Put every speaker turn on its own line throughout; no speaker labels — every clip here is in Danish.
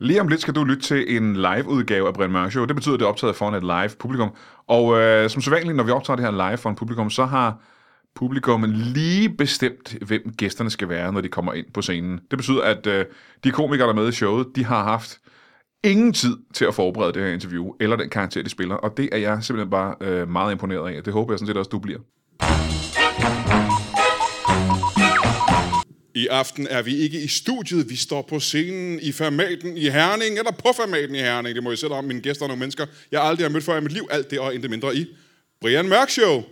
Lige om lidt skal du lytte til en live-udgave af Brian Mørk Show. Det betyder, at det er optaget foran et live-publikum. Og øh, som sædvanligt, når vi optager det her live foran publikum, så har publikum lige bestemt, hvem gæsterne skal være, når de kommer ind på scenen. Det betyder, at øh, de komikere, der er med i showet, de har haft ingen tid til at forberede det her interview, eller den karakter, de spiller. Og det er jeg simpelthen bare øh, meget imponeret af. Det håber jeg sådan set også, du bliver.
I aften er vi ikke i studiet, vi står på scenen i formaten i Herning, eller på formaten i Herning, det må jeg sætte om, mine gæster og nogle mennesker, jeg aldrig har mødt før i mit liv, alt det og intet mindre i Brian Mørk Show.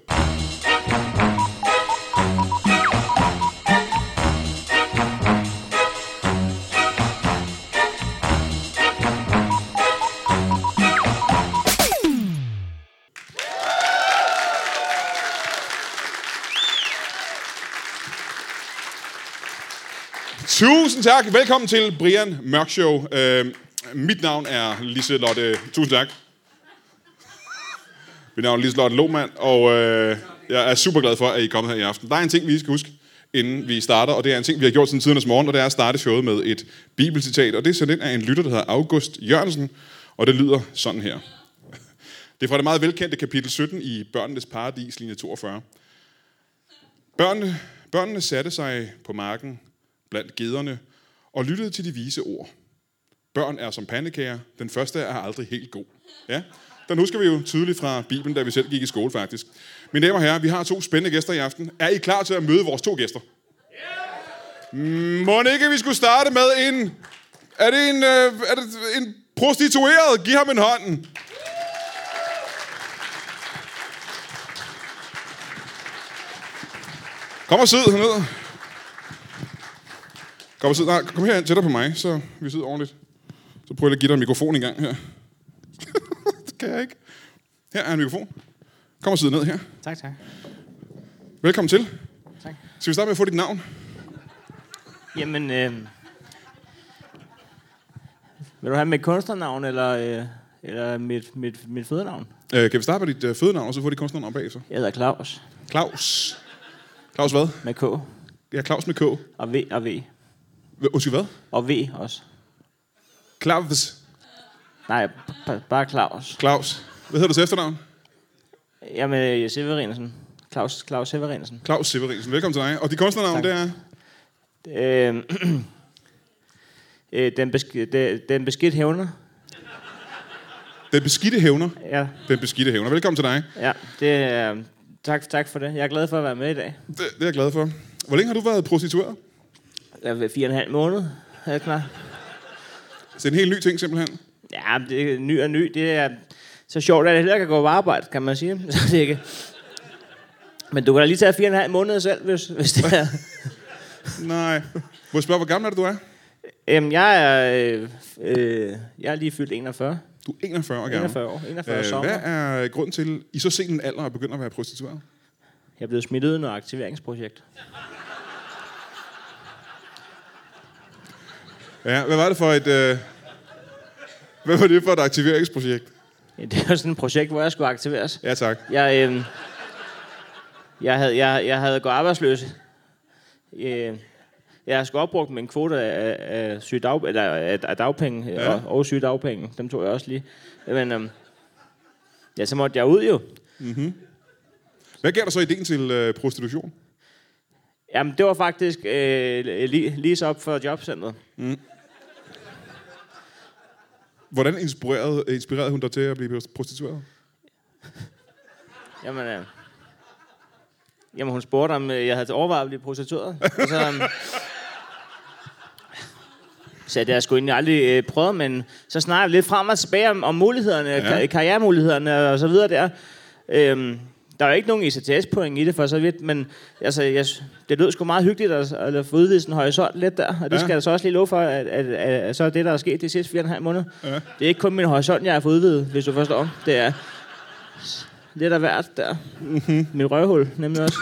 Tusind tak, velkommen til Brian Mørk Show. Øh, mit navn er Lise Lotte, tusind tak. Mit navn er Liselotte Lohmann, og øh, jeg er super glad for, at I er kommet her i aften. Der er en ting, vi skal huske, inden vi starter, og det er en ting, vi har gjort siden tidernes morgen, og det er at starte showet med et bibelcitat, og det er sendt ind af en lytter, der hedder August Jørgensen, og det lyder sådan her. Det er fra det meget velkendte kapitel 17 i Børnenes Paradis, linje 42. Børnene, børnene satte sig på marken blandt gederne og lyttede til de vise ord. Børn er som pandekager. Den første er aldrig helt god. Ja, den husker vi jo tydeligt fra Bibelen, da vi selv gik i skole faktisk. Mine damer og herrer, vi har to spændende gæster i aften. Er I klar til at møde vores to gæster? Må ikke vi skulle starte med en... Er det en, øh, er det en prostitueret? Giv ham en hånd. Kom og sid hernede. Kom, og sid. Nej, kom herhen tættere på mig, så vi sidder ordentligt. Så prøver jeg lige at give dig en mikrofon en gang her. det kan jeg ikke. Her er en mikrofon. Kom og sid ned her.
Tak, tak.
Velkommen til.
tak.
Skal vi starte med at få dit navn?
Jamen, øh, vil du have mit kunstnernavn, eller, øh, eller mit, mit, mit fødenavn?
Øh, kan vi starte med dit øh, fødenavn, og så få dit kunstnernavn op bagefter?
Jeg hedder Claus,
Claus. Claus hvad?
med K,
Ja, Claus med K.
og V og V.
Hva- Undskyld, hvad?
Og V også.
Claus.
Nej, ba- bare Claus.
Claus. Hvad hedder du til efternavn?
Jamen, øh, Severinsen. Claus, Claus Severinsen.
Claus Severinsen. Velkommen til dig. Og dit kunstnernavn,
Tak.
det er...
Øh, øh, den, besk- de, den beskidt hævner.
Den beskidte hævner.
Ja,
Den beskidte hævner. Velkommen til dig.
ja, det er... tak, tak for det. Jeg er glad for at være med i dag.
Det, det er jeg glad for. Hvor længe har du været prostitueret?
Jeg er ved fire og en halv måned. Er jeg klar?
Så det er en helt ny ting, simpelthen.
Ja, men det er ny og ny. Det er så sjovt, at jeg heller ikke kan gå på arbejde, kan man sige. Så det er ikke. Men du kan da lige tage fire og en halv måned selv, hvis, hvis det er.
Nej. Må jeg spørge, hvor gammel er det, du er?
Øhm, jeg, er, øh, øh, jeg er lige fyldt 41.
Du er 41 år gammel.
41 år. 41 øh,
Øh,
sommer.
hvad er grunden til, i så sen en alder, at begynde at være prostitueret?
Jeg er blevet smidt ud i noget aktiveringsprojekt.
Ja, hvad var det for et... Øh... Hvad var det for et aktiveringsprojekt?
Ja, det er jo sådan et projekt, hvor jeg skulle aktiveres.
Ja, tak.
Jeg, øh, jeg, havde, jeg, jeg havde gået arbejdsløs. Øh, jeg har sgu opbrugt min kvote af, af, sygdag, eller af, af dagpenge ja. og, og sygedagpenge. Dem tog jeg også lige. Men øh, ja, så måtte jeg ud jo.
Hvad gav der så ideen til øh, prostitution?
Jamen, det var faktisk øh, lige, lige så op for jobcentret.
Hvordan inspirerede, øh, inspirerede hun dig til at blive prostitueret?
Jamen, øh, jamen hun spurgte, om øh, jeg havde overvejet at blive prostitueret. Og så øh, sagde jeg, det har jeg sgu egentlig aldrig øh, prøvet, men så snakker jeg lidt frem og tilbage om, om mulighederne, ja. karrieremulighederne og så videre der. Øhm, der er jo ikke nogen ECTS-point i det for så vidt, men altså, jeg, s- det lød sgu meget hyggeligt at, at få udvidet sådan horisont lidt der, og det
Ja.
ja. skal jeg så også lige love for, at, at, at, at så er det, der er sket de sidste fire og en halv måned. Ja. Det er ikke kun min horisont, jeg har fået udvidet, hvis du forstår. Det er lidt af hvert der. Mm-hmm.
Mhm.
Mit røvhul, nemlig også.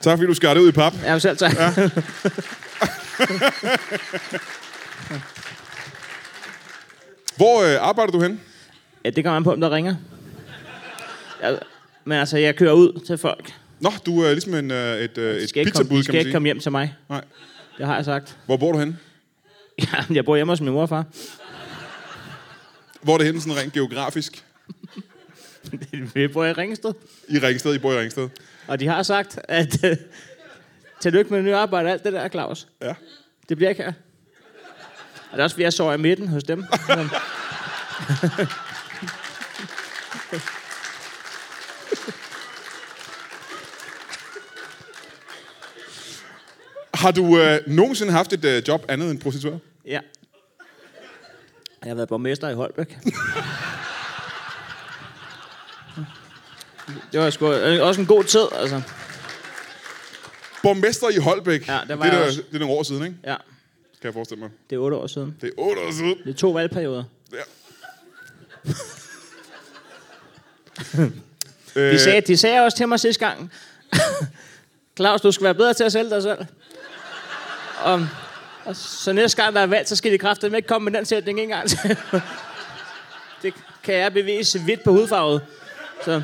Tak fordi du skar det ud i pap.
Ja, men selv tak. Ja.
Hvor øh, arbejder du hen?
ja, det kommer an på, om der ringer. Jeg, men altså, jeg kører ud til folk.
Nå, du er ligesom en, øh, et, øh,
De
et
skal ikke, komme, de
pizzabud, kan
skal
man
ikke
sige.
komme hjem til mig.
Nej.
Det har jeg sagt.
Hvor bor du hen?
Ja, jeg bor hjemme hos min mor og far.
Hvor er det henne sådan rent geografisk?
Vi bor i Ringsted.
I Ringsted, I bor i Ringsted.
Og de har sagt, at øh, tillykke med det nye arbejde og alt det der, Claus.
Ja.
Det bliver ikke her. Og det er også, fordi jeg sover i midten hos dem. Men,
Har du øh, nogensinde haft et øh, job andet end prostitueret?
ja. Jeg har været borgmester i Holbæk. Det var sgu øh, også en god tid, altså.
Borgmester i Holbæk.
Ja, der var
det,
jeg
er,
også.
det er nogle år siden, ikke?
Ja,
Kan jeg forestille mig.
det er otte år siden.
Det er otte år siden.
Det er to valgperioder.
Ja. Øh.
De sagde, de sagde også til mig sidste gang, Claus, du skal være bedre til at sælge dig selv. Og, og så næste gang, der er valg, så skal de kraftedeme ikke komme med den sætning en gang til. det kan jeg bevise hvidt på hudfarvet. Så
Øh,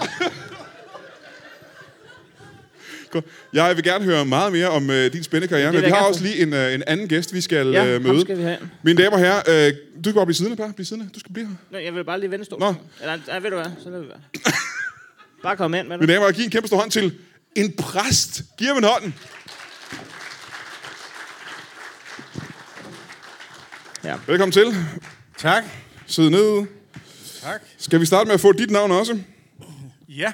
Godt. Jeg vil gerne høre meget mere om øh, din spændende karriere,
Jamen,
men
det vil
vi
jeg
har
gerne
også lige en, øh, en anden gæst, vi skal
Ja,
øh,
ham
møde.
skal vi have.
Mine damer og herrer, øh, du kan godt blive siddende, Per. Bliv siddende. Du skal blive her.
Nå, jeg vil bare lige vende stolen.
Nå.
Eller, nej, ved du hvad, så lader vi være. Bare kom ind med
Mine
dig.
damer og herrer, giv en kæmpe stor hånd til en præst. Giv ham en hånd.
Ja.
Velkommen til.
Tak.
Sid ned.
Tak.
Skal vi starte med at få dit navn også?
Ja.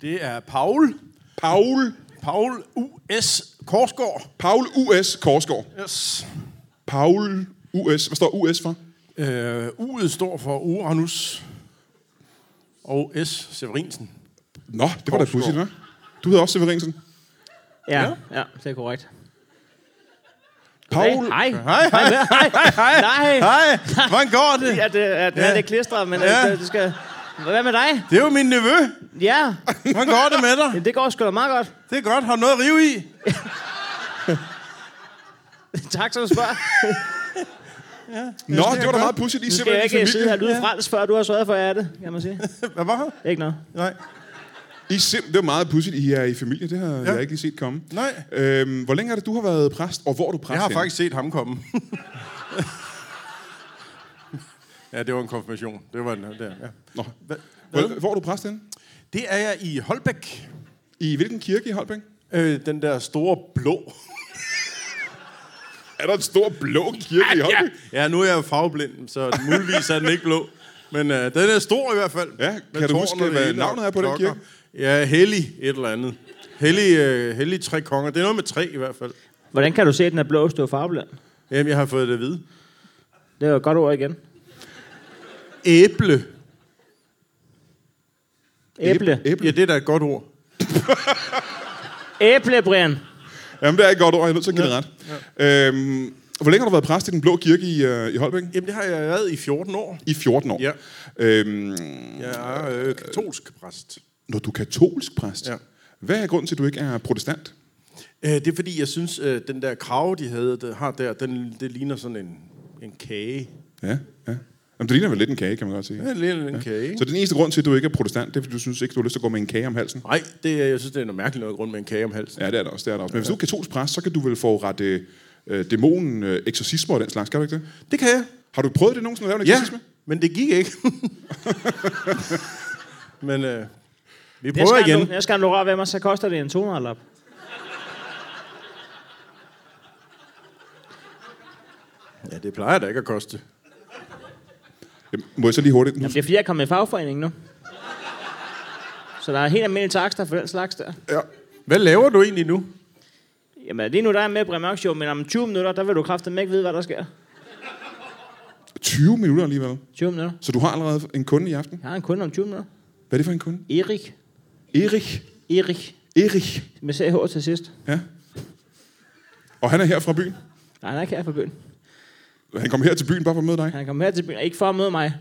Det er Paul.
Paul.
Paul U.S. Korsgaard.
Paul U.S. Korsgaard.
Yes.
Paul U.S. Hvad står U.S. for?
Øh, U'et står for Uranus. Og S. Severinsen.
Nå, det var da pudsigt, hva'? Du hedder også Severinsen.
Ja, ja, det er korrekt.
Paul,
Hej. Hej.
Hej, hej.
Hej. Nej.
Hej. Hvordan går det?
Ja, det, ja, den er lidt klistret, men
Ja.
ja. det, det skal... Hvad med dig?
Det er jo min nevø.
Ja,
Hvordan går det med dig?
Jamen, det går sgu da meget godt.
Det er godt. Har du noget at rive i?
tak, som spørger.
Nå, det var da meget pudsigt. I
Nu skal jeg
simpelthen
ikke
i
sidde her og
familie.
lyde fransk, før du har sørget for, at jeg er det, kan man sige.
Hvad var her?
Ikke noget.
Nej.
I sim- det var meget pudsigt, I er i familie. Det har ja. jeg ikke lige set komme.
Nej.
Øhm, hvor længe er det, du har været præst, og hvor er du præst
Jeg har
henne?
faktisk set ham komme. ja, det var en konfirmation. Det var en, der, ja.
Nå.
Hva-
Hvor, hvor er du præst henne?
Det er jeg i Holbæk.
I hvilken kirke i Holbæk?
Øh, den der store blå.
Er der en stor blå kirke i Holbæk?
Ja, nu er jeg jo farveblind, så muligvis er den ikke blå. Men øh, den er stor i hvert fald.
Ja,
Med
kan du
tårn
huske,
og det
hvad
hele og
navnet er på den
klokker.
kirke?
Ja, Hellig et eller andet. Hellig, øh, Hellig Tre Konger. Det er noget med tre i hvert fald.
Hvordan kan du se, at den er blå, hvis du er farveblind?
Jamen, jeg har fået det at vide.
Det er jo et godt ord igen.
Æble.
Æble.
Æble.
Ja, det er da et godt ord.
Æble, Brian.
Jamen, det er ikke godt ord. Jeg er nødt til at give ja. det ret. Øhm, hvor længe har du været præst i den blå kirke i, øh, i Holbæk?
Jamen, det har jeg været i 14 år.
I 14 år.
Ja.
Øhm,
Jeg er øh, katolsk præst.
når du er katolsk præst,
Ja.
hvad er grunden til, at du ikke er protestant?
Øh, det er fordi, jeg synes, øh, den der krave, de havde, det, har der, den, det ligner sådan en, en kage.
Ja, ja. Jamen, det ligner vel lidt en kage, kan man godt sige.
Ja, det ligner en kage, ikke?
Så den eneste grund til, at du ikke er protestant, det er, fordi du synes ikke, du har lyst til at gå med en kage om halsen?
Nej, det, er- jeg synes, det er noget mærkeligt noget grund med en kage om halsen.
Ja, det er der også. Det er der også. Men hvis du er katolsk præst, så kan du vel få ret øh, øh, dæmonen, øh, eksorcismer og den slags, skal du ikke det?
Det kan jeg.
Har du prøvet det nogensinde at lave en
Ja,
eksorcisme?
men det gik ikke. men øh, vi
Næste
prøver
gang
igen.
Du, næste gang du rører ved mig, så koster det en 200-lap.
Ja, det plejer da ikke at koste.
Jamen, må jeg så lige hurtigt? Nu,
Jamen, det er fordi, jeg er kommet i fagforening nu. Så der er helt almindelige takster for den slags der.
ja.
Hvad laver du egentlig nu?
Jamen, lige nu der er jeg med i Brian Mørk Show, men om 20 minutter, der vil du kraftedeme ikke vide, hvad der sker.
20 minutter alligevel.
20 minutter.
Så du har allerede en kunde i aften?
Jeg har en kunde om 20 minutter.
Hvad er det for en kunde?
Erik.
Erik.
Erik.
Erik.
Med CH til sidst.
Ja. Og han er her fra byen.
Nej, han er ikke her fra byen.
Han kom her til byen bare for at møde dig.
Han er kommet her til byen, ikke for at møde mig,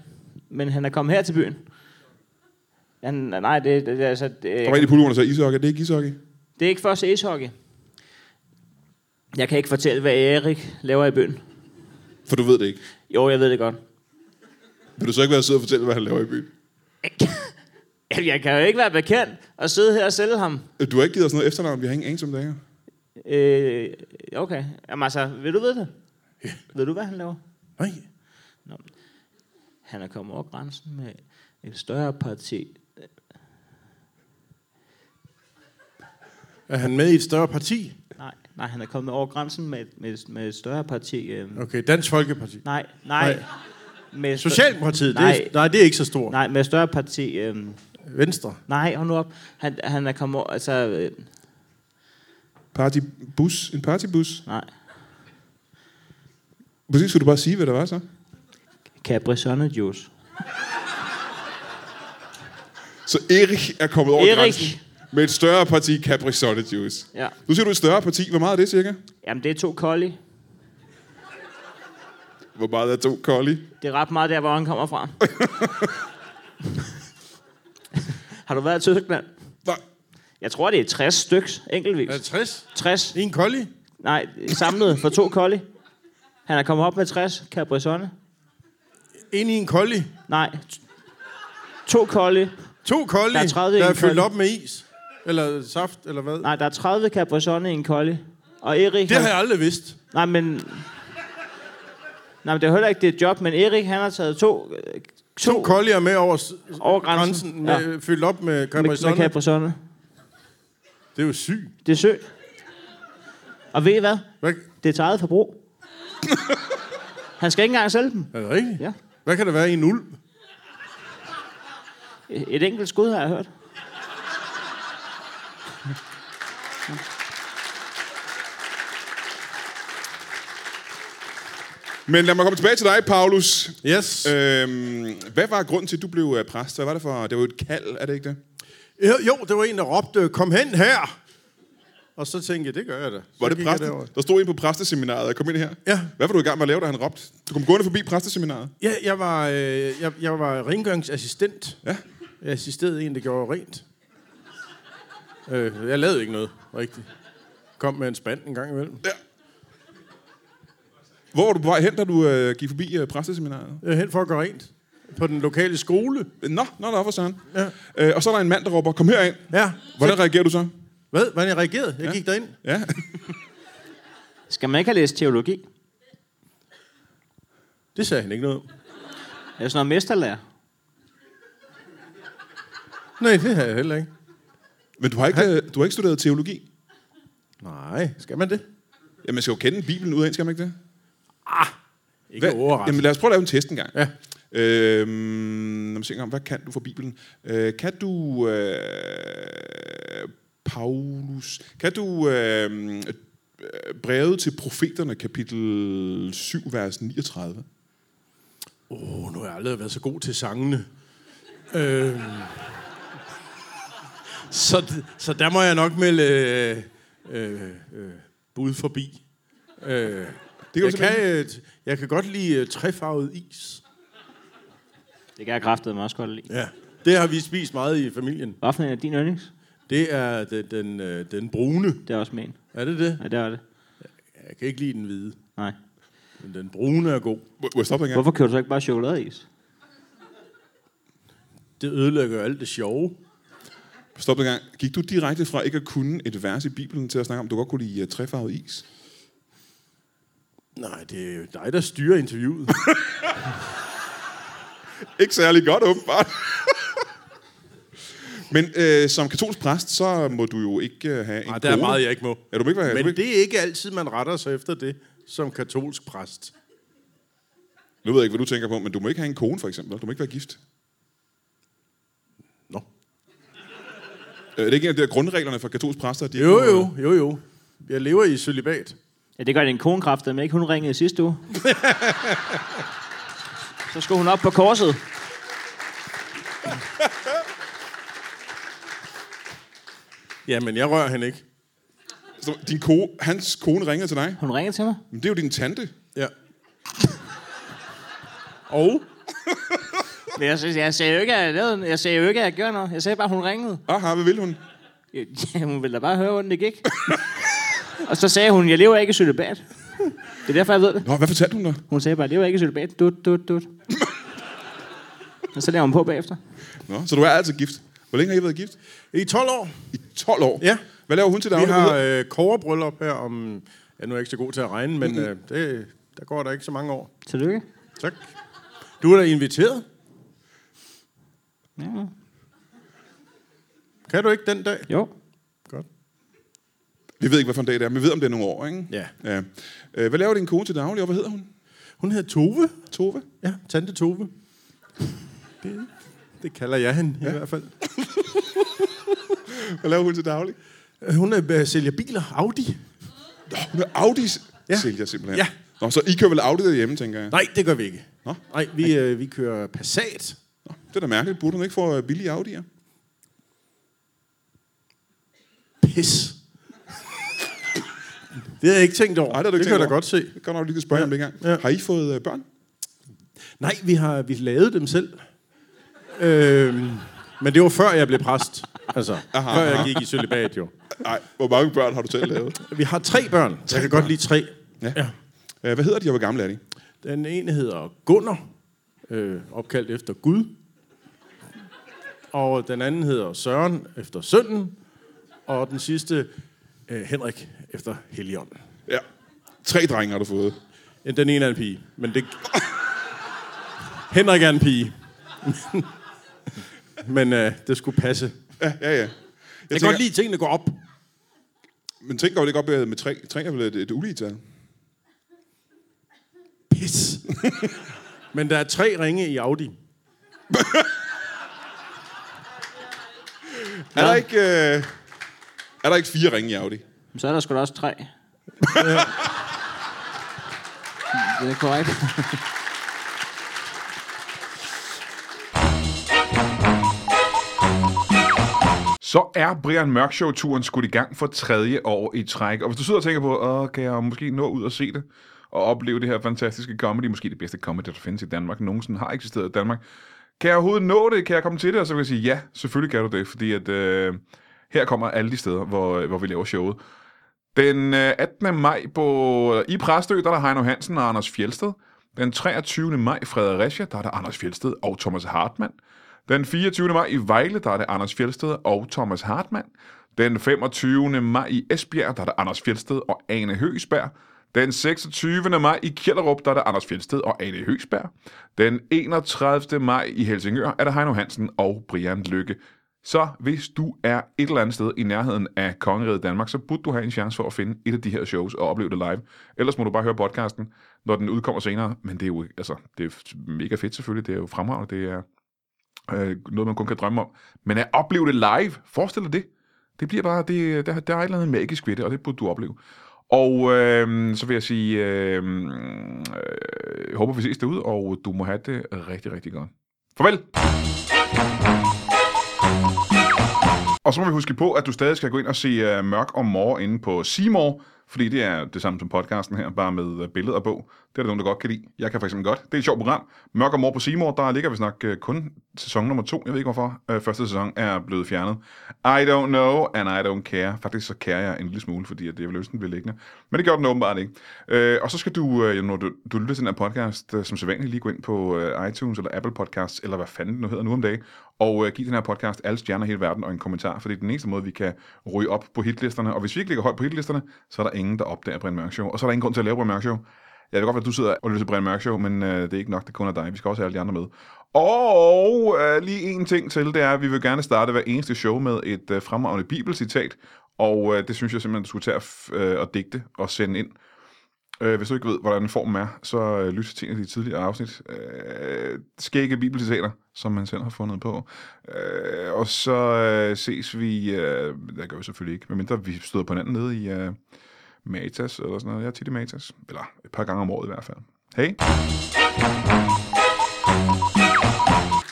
men han er kommet her til byen. Han, nej, det, det, det, altså, det,
Der var en i pulveren, der sagde ishockey. Det er ikke ishockey.
det er ikke for at se ishockey. Jeg kan ikke fortælle, hvad Erik laver i byen.
For du ved det ikke.
Jo, jeg ved det godt.
Vil du så ikke være sød og fortælle, hvad han laver i byen?
Jamen, Jeg kan jo ikke være bekendt og sidde her og sælge ham.
Du har ikke givet os noget efternavn. Vi har ingen anelse om det her.
Øh, okay. Jamen altså, vil du vide det? Ved du, hvad han laver?
Nej.
Han er kommet over grænsen med et større parti.
Er han med i et større parti?
Nej, nej, han er kommet over grænsen med, med, med et større parti. Øh.
Okay, Dansk Folkeparti.
Nej, nej.
Nej.
Med et stør-
Socialdpartiet, nej. Det
Nej.
er, nej, det er ikke så stort.
Nej, med et større parti. Øh.
Venstre.
Nej, hold nu op. Han, han er kommet over, altså... Øh.
Partybus. En partybus.
Nej.
Præcis, skulle du bare sige, hvad der var så?
Capri Sonne Juice.
Så Erik er kommet over
Erik.
grænsen med et større parti Capri Sonne Juice.
Ja.
Nu siger du et større parti. Hvor meget er det cirka?
Jamen, det er to kolde.
Hvor meget er to kolde?
Det er ret meget der, hvor han kommer fra. Har du været i Tyskland?
Nej.
Jeg tror, det er 60 styks, enkeltvis.
Er det 60?
60.
En kolde?
Nej, samlet for to kolde. Han er kommet op med 60 Capri Sonne.
En i en kolde?
Nej. t- To kolde.
To kolde,
Der er 30 i
der er
en
fyldt
kolde.
op med is? Eller saft, eller hvad?
Nej, der er 30 Capri Sonne i en kolde. Og Erik...
Det
han-
har jeg aldrig vidst.
Nej, men... Nej, men det er heller ikke det job, men Erik, han har taget to... øh,
To, to kolde er med over s-
Over grænsen,
grænsen, med, fyldt op med
med, med
Capricorn.
Capri Sonne.
Det er jo sygt.
Det er sødt. Og ved I hvad?
Hvad,
Det er til eget forbrug. Han skal ikke engang sælge dem.
er det rigtigt?
Ja.
Hvad kan der være i en ulv?
Et enkelt skud har jeg hørt.
Men lad mig komme tilbage til dig, Paulus.
Yes. Øh.
Øhm, hvad var grunden til, at du blev øh, præst? Hvad var det for? Det var jo et kald, er det ikke det?
Øh, Jo, det var en, der råbte, kom hen her! Og så tænkte jeg, det gør jeg da. Så
Var det
gik jeg
præsten?
derover.
Der stod en på præsteseminaret og kom ind her.
Ja.
Hvad var du i gang med at lave, da han råbte? Du kom gående forbi præsteseminaret.
Ja, jeg var, øh, jeg, jeg var rengøringsassistent.
Ja.
Jeg assisterede en, der gjorde rent. Øh, jeg lavede ikke noget, rigtigt. Kom med en spand en gang imellem.
Hvor var du på vej hen, da du øh, gik forbi øh, præsteseminaret?
Jeg er hen for at gøre rent. På den lokale skole.
Nå, nå, nå, for søren.
Ja.
Øh, og så er der en mand, der råber, kom herind.
Ja.
Hvordan reagerer du så?
Hvad? Hvordan jeg reagerede? Jeg ja. gik derind.
Ja.
Skal man ikke have læst teologi?
Det sagde han ikke noget om.
Er det sådan noget mesterlærer?
Nej, det har jeg heller ikke.
Men du har, ikke, øh, du har ikke studeret teologi.
Nej, skal man det?
Jamen, man skal jo kende Bibelen ud af, en, skal man ikke det?
Ikke Hva?
Jamen,
overraskende.
lad os prøve at lave en test en gang.
Ja.
Øhm, lad mig se engang, hvad kan du fra Bibelen? Øh, kan du... Øh, Paulus... Kan du... Øh, øh, brevet til profeterne, kapitel 7, vers 39?
Åh, oh, nu har jeg aldrig været så god til sangene. øhm. så, d- så der må jeg nok melde øh, øh, øh, bud forbi. Øh,
kan
det kan
du
jeg, kan,
simpelthen.
øh, t- jeg kan godt lide øh, træfarvet is.
Det kan jeg kraftede mig også godt lide.
Ja. Det har vi spist meget i familien.
Hvad for en er din yndlings?
Det er den, den, øh, den brune.
Det er også min.
Er det det?
Ja, det var det.
Jeg kan ikke lide den hvide,
Nej.
men den brune er god.
Må, må jeg stoppe en gang?
Hvorfor køber du så ikke bare chokoladeis?
Det ødelægger jo alt det sjove.
Stop en gang. Gik du direkte fra ikke at kunne et vers i Bibelen til at snakke om, du godt kunne lide øh, træfarvet is?
Nej, det er jo dig, der styrer interviewet.
Ikke særlig godt, åbenbart. Men øh, som katolsk præst, så må du jo ikke øh, have en
Nej, Ah, der er
kone.
meget, jeg ikke må.
Ja, du må ikke være... du må
Men
ikke...
det er ikke altid, man retter sig efter det som katolsk præst.
Nu ved jeg ikke, hvad du tænker på, men du må ikke have en kone, for eksempel. Du må ikke være gift.
Nå.
Øh, det er ikke en af de der grundreglerne for katolske præster? at De
Jo,
ikke må-
jo, jo, jo. Jeg lever i celibat.
Ja, det gør din kone kraftede mig ikke. Hun ringede i sidste uge. så skulle hun op på korset.
Ja, men jeg rører hende ikke.
Så din ko, hans kone ringede til dig.
Hun ringede til mig.
Men det er jo din tante.
Ja. Og?
Men jeg, synes, jeg sagde jo ikke, at jeg, lavede, jeg sagde jo ikke, at jeg gjorde noget. Jeg sagde bare, at hun ringede.
Aha, Ah, hvad vil hun?
Ja, hun ville da bare høre, hvordan det gik. og så sagde hun, jeg lever ikke i cølibat. Det er derfor, jeg ved det.
Nå, hvad fortalte hun dig?
Hun sagde bare, jeg lever ikke i cølibat. Dut, dut, dut. og så laver hun på bagefter.
Nå, så du er altså gift. Hvor længe har I været gift?
I 12 år.
I 12 år?
Ja.
Hvad laver hun til dig?
Vi har øh, koverbryllup her om... Ja, nu er jeg ikke så god til at regne, men øh, det, Der går der ikke så mange år.
Tillykke.
Tak. Du er da inviteret.
Ja.
Kan du ikke den dag?
Jo.
Godt.
Vi ved ikke, hvad for en dag det er, men vi ved, om det er nogle år, ikke?
øh- Ja.
ja. Øh, Hvad laver din kone til daglig, og hvad hedder hun?
Hun hedder Tove.
Tove?
Ja, Tante Tove. Det, det kalder jeg hende ja. i hvert fald.
Hvad laver hun til daglig?
Øh, Hun er, øh, sælger biler. Audi.
Nå, hun er Audi ja.
Ja.
sælger simpelthen.
Ja.
Nå, så I kører vel Audi derhjemme, tænker jeg.
Nej, det gør vi ikke.
Nå.
Nej, vi, øh, vi kører Passat.
Nå, det er da mærkeligt. Burde hun ikke få øh, billige Audi'er?
Pis. Det havde jeg ikke tænkt over.
Nej, det har du ikke
det kan jeg
tænkt
da
over.
godt se.
Det kan nok lige kan spørge ja. om det engang. Ja.
Ja.
Har I fået øh, børn?
Nej, vi har vi lavede dem selv. Øhm, men det var før jeg blev præst. Altså, aha, før jeg gik i celibat jo.
Nej, hvor mange børn har du selv lavet?
Vi har tre børn. Tre jeg kan godt lide tre.
Ja. ja. Øh, Hvad hedder de, og hvor gamle er de?
Den ene hedder Gunnar, øh, opkaldt efter Gud. Og den anden hedder Søren, efter sønnen. Og den sidste, øh, Henrik, efter Helion.
Ja. Tre drenge har du fået.
Den ene er en pige, men det... Henrik er en pige. men øh, det skulle passe. Jeg,
Ja, ja, ja. Jeg,
jeg kan godt lide, at tingene går op.
Men tænk godt, det godt med, med tre. Tre er vel et, et ulige tal.
Pis. men der er tre ringe i Audi.
Er der, ikke, øh, er der ikke fire ringe i Audi?
Så er der sgu da også tre. det er korrekt.
Så er Brian Mørk Show-turen skudt i gang for tredje år i træk. Og hvis du sidder og tænker på, Åh, kan jeg måske nå ud og se det, og opleve det her fantastiske comedy, måske det bedste comedy, der findes i Danmark, nogensinde har eksisteret i Danmark. Kan jeg overhovedet nå det? Kan jeg komme til det? Og så vil jeg sige, ja, selvfølgelig kan du det, fordi at, øh, her kommer alle de steder, hvor, hvor vi laver showet. Den øh, 18. maj på, i Præstø, der er der Heino Hansen og Anders Fjelsted. Den 23. maj i Fredericia, der er der Anders Fjelsted og Thomas Hartmann. Den 24. maj i Vejle, der er det Anders Fjelsted og Thomas Hartmann. Den 25. maj i Esbjerg, der er det Anders Fjelsted og Ane Høgsberg. Den 26. maj i Kjellerup, der er det Anders Fjelsted og Ane Høgsberg. Den 31. maj i Helsingør er det Heino Hansen og Brian Lykke. Så hvis du er et eller andet sted i nærheden af Kongeriget Danmark, så burde du have en chance for at finde et af de her shows og opleve det live. Ellers må du bare høre podcasten, når den udkommer senere. Men det er jo altså, det er mega fedt selvfølgelig. Det er jo fremragende. Det er øh, noget, man kun kan drømme om. Men at opleve det live, forestil dig det. Det bliver bare, det, der, der er et eller andet magisk ved det, og det burde du opleve. Og øh, så vil jeg sige, øh, øh, håber vi ses derude, og du må have det rigtig, rigtig godt. Farvel! Og så må vi huske på, at du stadig skal gå ind og se uh, Mørk og Mor inde på Seymour, fordi det er det samme som podcasten her, bare med uh, billeder og bog. Det er der nogen, der godt kan lide. Jeg kan for eksempel godt. Det er et sjovt program. Mørk og Mor på Seymour, der ligger vist nok uh, kun sæson nummer to. Jeg ved ikke hvorfor. Uh, første sæson er blevet fjernet. I don't know, and I don't care. Faktisk så kærer jeg en lille smule, fordi at det er vel lysten ved liggende. Men det gør den åbenbart ikke. Uh, og så skal du, uh, når du, du lytter til den her podcast, uh, som sædvanligt lige gå ind på uh, iTunes eller Apple Podcasts, eller hvad fanden det nu hedder nu om dagen, og øh, give den her podcast alle stjerner i hele verden og en kommentar, for det er den eneste måde, vi kan ryge op på hitlisterne. Og hvis vi ikke ligger højt på hitlisterne, så er der ingen, der opdager Brian Mørk Show. Og så er der ingen grund til at lave Brian Mørk Show. Jeg ved godt, at du sidder og lytter til Brian Mørk Show, men øh, det er ikke nok, det kun er dig. Vi skal også have alle de andre med. Og øh, lige en ting til, det er, at vi vil gerne starte hver eneste show med et øh, fremragende bibelcitat. Og øh, det synes jeg simpelthen, du skulle tage at f- øh, og digte og sende ind. Øh, hvis du ikke ved, hvordan formen er, så øh, lyt til en af de tidligere afsnit. Øh, skægge bibelcitater, som man selv har fundet på. Øh, og så øh, ses vi... Øh, det gør vi selvfølgelig ikke, medmindre vi støder på hinanden nede i øh, Matas eller sådan noget. Jeg er tit i Matas. Eller et par gange om året i hvert fald. Hej!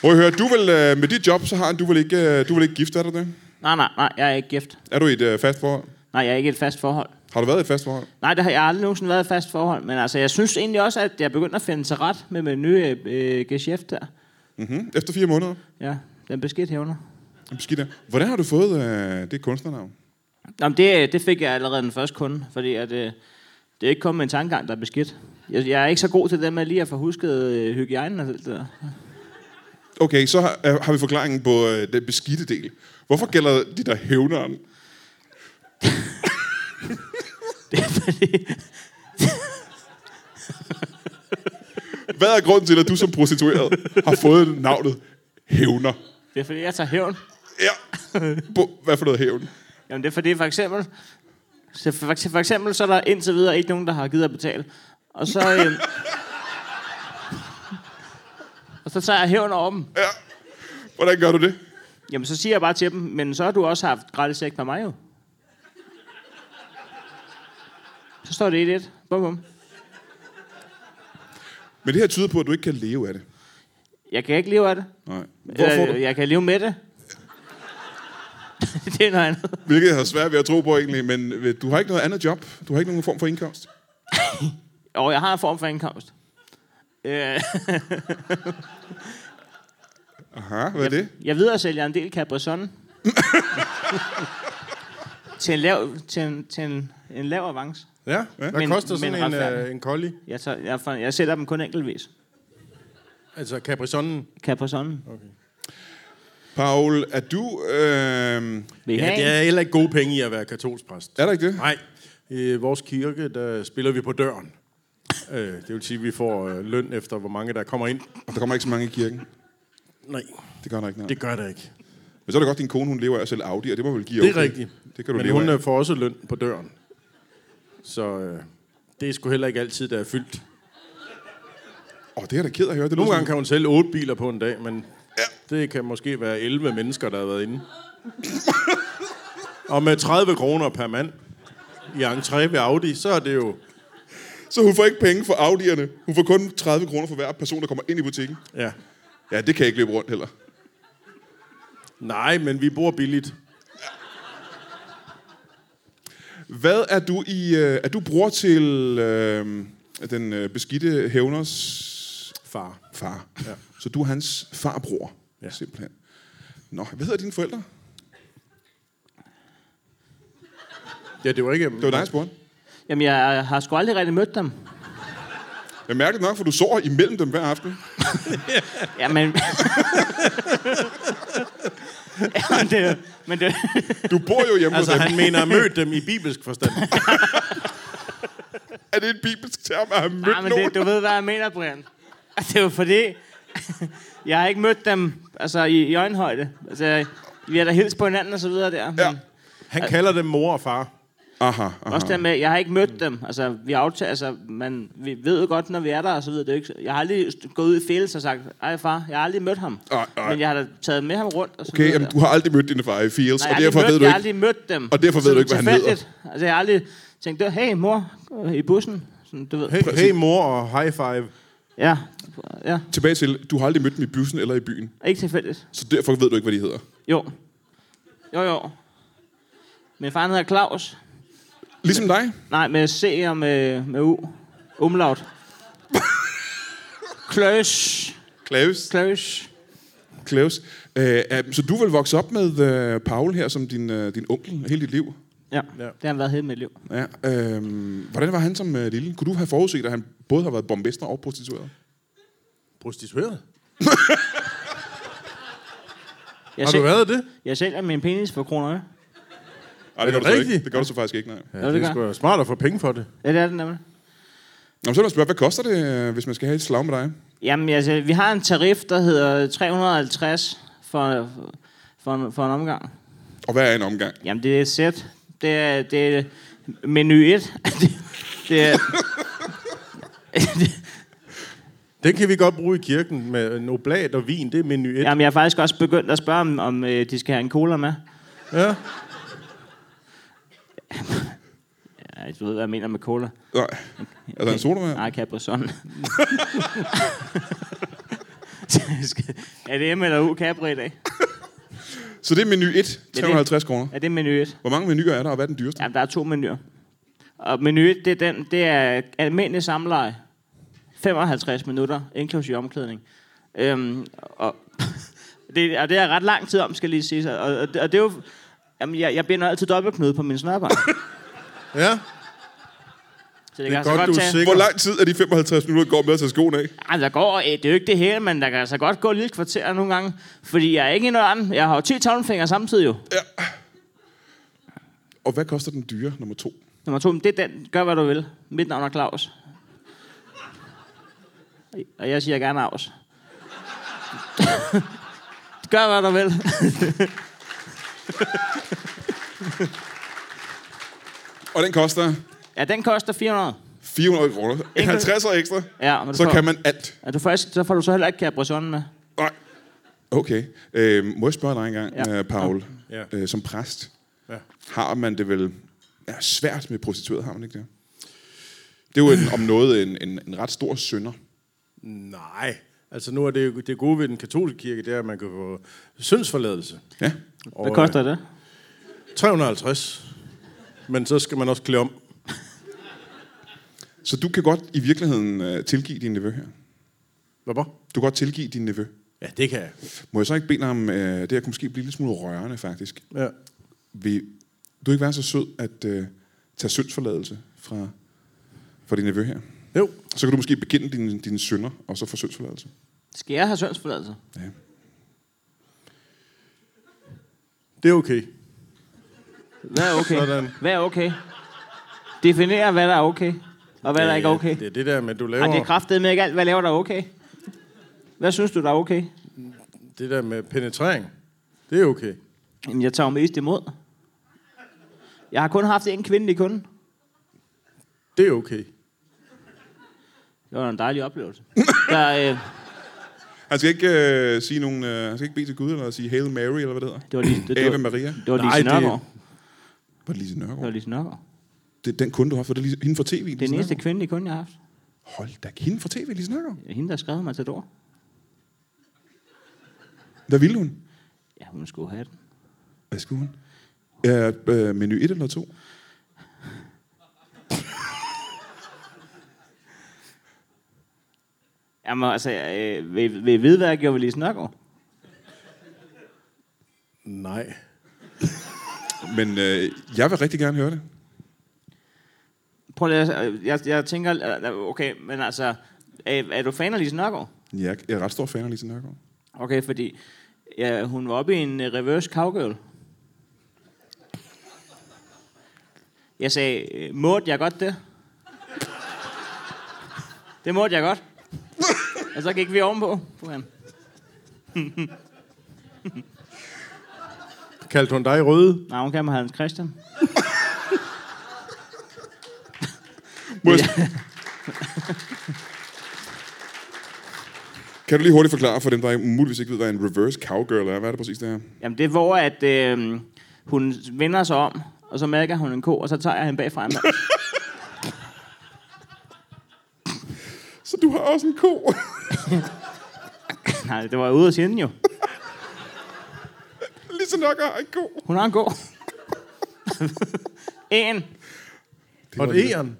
Prøv at høre, du vil, øh, med dit job, så har du vel ikke, øh, du vil ikke gift, er du det?
Nej, nej, nej, jeg er ikke gift.
Er du i et øh, fast forhold?
Nej, jeg er ikke i et fast forhold.
Har du været i et fast forhold?
Nej, det har jeg aldrig nogensinde været i et fast forhold. Men altså, jeg synes egentlig også, at jeg begynder at finde til ret med min nye øh, geschæft der.
Mm-hmm. Efter fire måneder?
Ja, den beskidt hævner.
Jamen, Skidt der. Hvordan har du fået øh, det kunstnernavn?
Nå, men det, det fik jeg allerede den første kunde, fordi at, øh, det er ikke kommet med en tankegang, der er beskidt. Jeg, jeg er ikke så god til det med lige at få husket øh, hygiejnen og alt det der.
Okay, så har, øh, har vi forklaringen på øh, den beskidte del. Hvorfor gælder de der hævneren?
Det er fordi...
Hvad er grunden til, at du som prostitueret har fået navnet hævner?
Det er fordi, jeg tager hævn.
Ja. Bo- Hvad for noget hævn?
Jamen det er fordi, for eksempel, så for, for eksempel så er der indtil videre ikke nogen, der har givet at betale. Og så, øhm, og så tager jeg hævn over dem.
Hvordan gør du det?
Jamen så siger jeg bare til dem, men så har du også haft gratis sex med mig jo. Så står det 1-1. Bum, bum.
Men det her tyder på, at du ikke kan leve af det.
Jeg kan ikke leve af det.
Nej. Hvorfor
Eller,
du?
jeg kan leve med det. det er noget andet.
Hvilket jeg har svært ved at tro på egentlig, men øh, du har ikke noget andet job. Du har ikke nogen form for indkomst.
Og jeg har en form for indkomst. Øh,
Aha, hvad er det?
jeg ved at sælge en del Cabrizon. til en lav, til en, til en, en lav avance.
Ja, hvad
Men-
koster sådan
men
en,
retfærdigt.
øh, en collie?
Jeg, tager, jeg, for- jeg sætter dem kun enkeltvis.
Altså Caprisonen.
Caprizonen.
Paul, er du... Øh...
Vil I
Ja,
have
det
en?
er heller ikke gode penge i at være katolsk præst.
Er der ikke det?
Nej, i vores kirke, der spiller vi på døren. Øh, det vil sige, at vi får øh, løn efter, hvor mange der kommer ind.
Og der kommer ikke så mange i kirken.
Nej,
Det gør der ikke noget.
det gør der ikke.
Men så er det godt, at din kone hun lever af at sælge Audi, og det må vel give
Det er
okay.
rigtigt.
Det kan du
Men
leve
hun
af.
øh, får også løn på døren. Så øh, det er sgu heller ikke altid, der er fyldt.
Åh, det er da ked af at høre. Det
Nogle
lyder
gange
som-
kan hun sælge otte biler på en dag, men ja. det kan måske være 11 mennesker, der har været inde. Og med 30 kroner per mand i entré ved Audi, så er det jo...
Så hun får ikke penge for Audierne. Hun får kun 30 kroner for hver person, der kommer ind i butikken.
Ja.
Ja, det kan ikke løbe rundt heller.
Nej, men vi bor billigt.
Hvad er du i... Øh, er du bror til øh, den øh, beskidte hævners
Far.
far?
Ja.
Så du er hans farbror, ja.
Ja.
simpelthen. Nå, hvad hedder dine forældre?
Ja, det var ikke...
Det var dig, jeg spurgte.
Jamen, jeg har sgu aldrig rigtig mødt dem.
Jeg mærker nok, for du sover imellem dem hver aften.
Jamen... Jamen, det, er- men det,
Du bor jo hjemme
Altså,
hos dem.
han mener at møde dem i bibelsk forstand.
Er det en bibelsk term at have mødt
nej, men
nogen?
det, du ved, hvad jeg mener, Brian. Det er jo fordi, jeg har ikke mødt dem altså, i, i øjenhøjde. Altså, vi har da hilst på hinanden og så videre der. Men
Ja.
Han kalder dem mor og far.
Aha, aha.
Også det med, jeg har ikke mødt dem. Altså, vi aftager, altså, man, vi ved jo godt, når vi er der og så videre. Det er jo ikke, jeg har aldrig st- gået ud i fælles og sagt, ej far, jeg har aldrig mødt ham.
Ej, ej.
Men jeg har da taget med ham rundt og så
Okay,
videre.
jamen,
der.
du har aldrig mødt dine far i Fields, og
Nej, jeg har
derfor
aldrig
ved
mødt-
du
Jeg har
ikke...
aldrig mødt dem.
Og derfor ved
Sådan
du ikke, hvad han
tilfældigt. Altså, jeg har aldrig tænkt, hey mor, øh, i bussen. Sådan, du ved.
Hey, hey mor og high five.
Ja, ja.
Tilbage til, du har aldrig mødt dem i bussen eller i byen,
Ikke tilfældigt.
så derfor ved du ikke, hvad de hedder.
Jo. Jo, jo. Min far han hedder Claus.
Ligesom dig.
Nej, med C og med, med U. Umlaut. Klaus.
Klaus.
Klaus.
Klaus. Øh, øh, så du vil vokse op med øh, Paul her som din, øh, din onkel hele dit liv?
Ja, ja,
Ja.
det har han været hele mit liv.
Ja. Øh, hvordan var han som øh, lille? Kunne du have forudset, at han både har været bombester og prostitueret?
Prostitueret?
Jeg,
Har du
sælger,
været det?
jeg sælger min penis for kroner. øre.
Ej, det,
Er
gør
det
du så ikke.
rigtigt?
det gør du så faktisk ikke, nej.
Ja,
Jo,
det,
det
det er
gør
sgu da smart at få penge for det.
Ja, det er den nemlig.
Nå, men så vil jeg spørge, hvad koster det, øh, hvis man skal have et slag med dig?
Jamen, altså, vi har en tarif, der hedder 350 for, for, en, for en omgang.
Og hvad er en omgang?
Jamen, det er et sæt. Det er, det er menu 1. det, det er,
Den kan vi godt bruge i kirken med en oblat og vin. Det er menu 1. Ja.
jamen, jeg er faktisk også begyndt at spørge, om, om øh, de skal have en cola med.
ja.
Ja, du ved, hvad jeg mener med cola.
Nej. Altså en sodavand?
Nej, Caprison. er det M eller U Capri i dag?
Så det er menu 1,
det-
350 kroner.
Er det menu 1?
Hvor mange menuer er der, og hvad er den dyreste?
Ja, der er to menuer. Og menu 1, det er, den, det er almindelig samleje. 55 minutter, inklusive omklædning. Øhm, og, det, og det er ret lang tid om, skal lige sige. Og, og, det, og det er jo... Jamen, jeg, jeg binder altid dobbeltknude på min snørbånd.
ja.
Så det,
Det
kan
er
altså
godt, du
godt
er
tage...
Hvor
sikker.
lang tid er de 55 minutter, går med at tage skoene af?
Ej, der går, øh, det er jo ikke det hele, men der kan altså godt gå et lille kvarter nogle gange. Fordi jeg er ikke en anden. Jeg har jo 10 tommelfingre samtidig jo.
Og hvad koster den dyre, nummer to?
Nummer to, men det er den. Gør, hvad du vil. Mit navn er Claus. Og jeg siger gerne afs. Gør, hvad du vil.
Og den koster
ja, den koster 400.
400 kroner. En 50 og ekstra.
Ja, men du
Så
får,
kan man alt.
Ja, du får, så får du så heller ikke Capricorn med.
Nej. Okay. Øh, må jeg spørge dig engang,
Ja.
ja. Paul?
Ja.
Øh, som præst,
Ja.
har man det vel ja, svært med prostitueret, har man ikke det? Det er jo en, om noget en, en, en ret stor synder.
Nej. Altså nu er det, jo- det gode ved den katolske kirke, det er, at man kan få syndsforladelse.
Ja.
Og,
Hvad koster det?
øh, 350. Men så skal man også klæde om.
Så du kan godt i virkeligheden øh, tilgive din nevø her.
Hvorfor?
Du kan godt tilgive din nevø.
Ja, det kan jeg.
Må jeg så ikke bede dig om, øh, det her kunne måske blive lidt smule rørende faktisk.
Ja.
Vil du ikke være så sød at øh, tage syndsforladelse fra, fra din nevø her?
Jo.
Så kan du måske bekende dine, dine synder, og så få syndsforladelse.
Skal jeg have sønsforladelse?
Ja.
Det er okay.
Hvad er okay?
Sådan.
Hvad er okay? Definere, hvad der er okay, og hvad der ikke er okay.
Det er det der med, du laver...
Ej, det er kraftet med ikke alt, hvad laver der er okay. Hvad synes du, der er okay?
det der med penetrering. Det er okay.
Jamen, jeg tager jo mest imod. Jeg har kun haft en kvindelig kunde.
Det er okay.
Det var en dejlig oplevelse. Der, øh,
Han skal ikke øh, sige nogen, øh, han skal ikke bede til Gud, eller sige Hail Mary, eller hvad det hedder.
det var lige, det, det,
Ave
var,
Maria.
det var
Nej,
Lise
det-
Nørgaard.
Var det Lise
Det var
Nørgaard?
Lise Nørgaard.
Det er den kunde, du har, for det er Lise- hende fra tv,
Det er
Lise
den eneste
Nørgaard.
kvindelige kunde, jeg har haft.
Hold da, hende fra tv, Lise Nørgaard.
Det er Hende, der skrev mig til dår.
Hvad ville hun?
Ja, hun skulle have den.
Hvad skulle hun? Øh, øh, menu 1 eller 2?
Jamen, altså, øh, ved, ved I vide, hvad jeg gjorde ved Lise Nørgaard?
Nej.
Men øh, jeg vil rigtig gerne høre det.
Prøv lige, at- øh, jeg, jeg tænker, øh, okay, men altså, er, er du fan af Lise Nørgaard?
Jeg er- jeg er ret stor fan af Lise Nørgaard.
Okay, fordi ja, hun var oppe i en øh, reverse cowgirl. Jeg sagde, øh, måtte jeg godt det? Det måtte jeg godt. Og så gik vi ovenpå. Puhan.
Kaldte hun dig røde?
Nej, hun kan mig Hans Christian.
Må jeg... Kan du lige hurtigt forklare for dem, der muligvis ikke ved, hvad en reverse cowgirl er? Hvad er det præcis, det her?
Jamen, det er hvor, at øh, hun vender sig om, og så mærker hun en ko, og så tager jeg hende bagfra en mand.
Så du har også en ko?
Nej, det var ude af siden jo.
Lise Nørgaard har en ko.
Hun har en ko. en.
Og
var
et æren?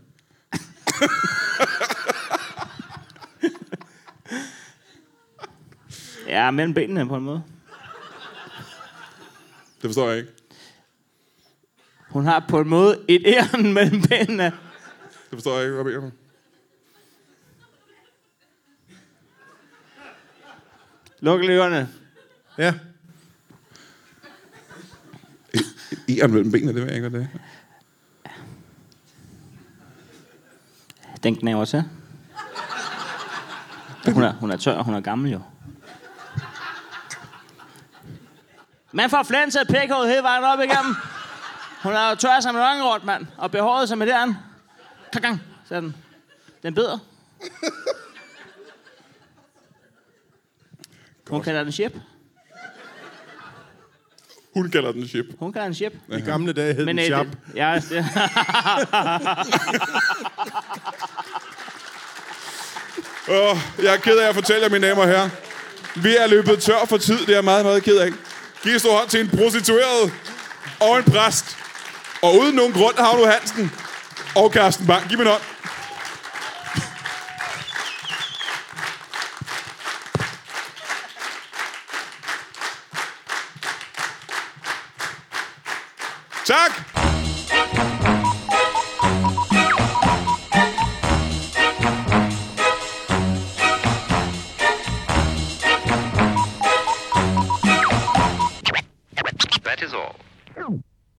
Ja, mellem benene på en måde.
Det forstår jeg ikke.
Hun har på en måde et æren mellem benene.
Det forstår jeg ikke, hvad jeg mener.
Luk lørerne.
Ja.
Eren mellem benene, det ved jeg ikke, hvad det er.
Den knæver til. Hun er, hun er tør, og hun er gammel jo. Man får flænset pækhåret hele vejen op igennem. Hun er jo tør som en ørnrot, mand. Og behåret som et æren. Kakang, sagde den. Den bider. Hun kalder den chip.
Hun kalder den chip.
Hun kalder den chip.
I gamle dage hed den
øh,
Sharp.
det- ja, det,
Åh, jeg er ked af at fortælle jer, mine damer og herrer. Vi er løbet tør for tid, det er jeg meget, meget ked af. Giv en stor hånd til en prostitueret og en præst. Og uden nogen grund, Havlo Hansen og Carsten Bang. Giv mig en hånd.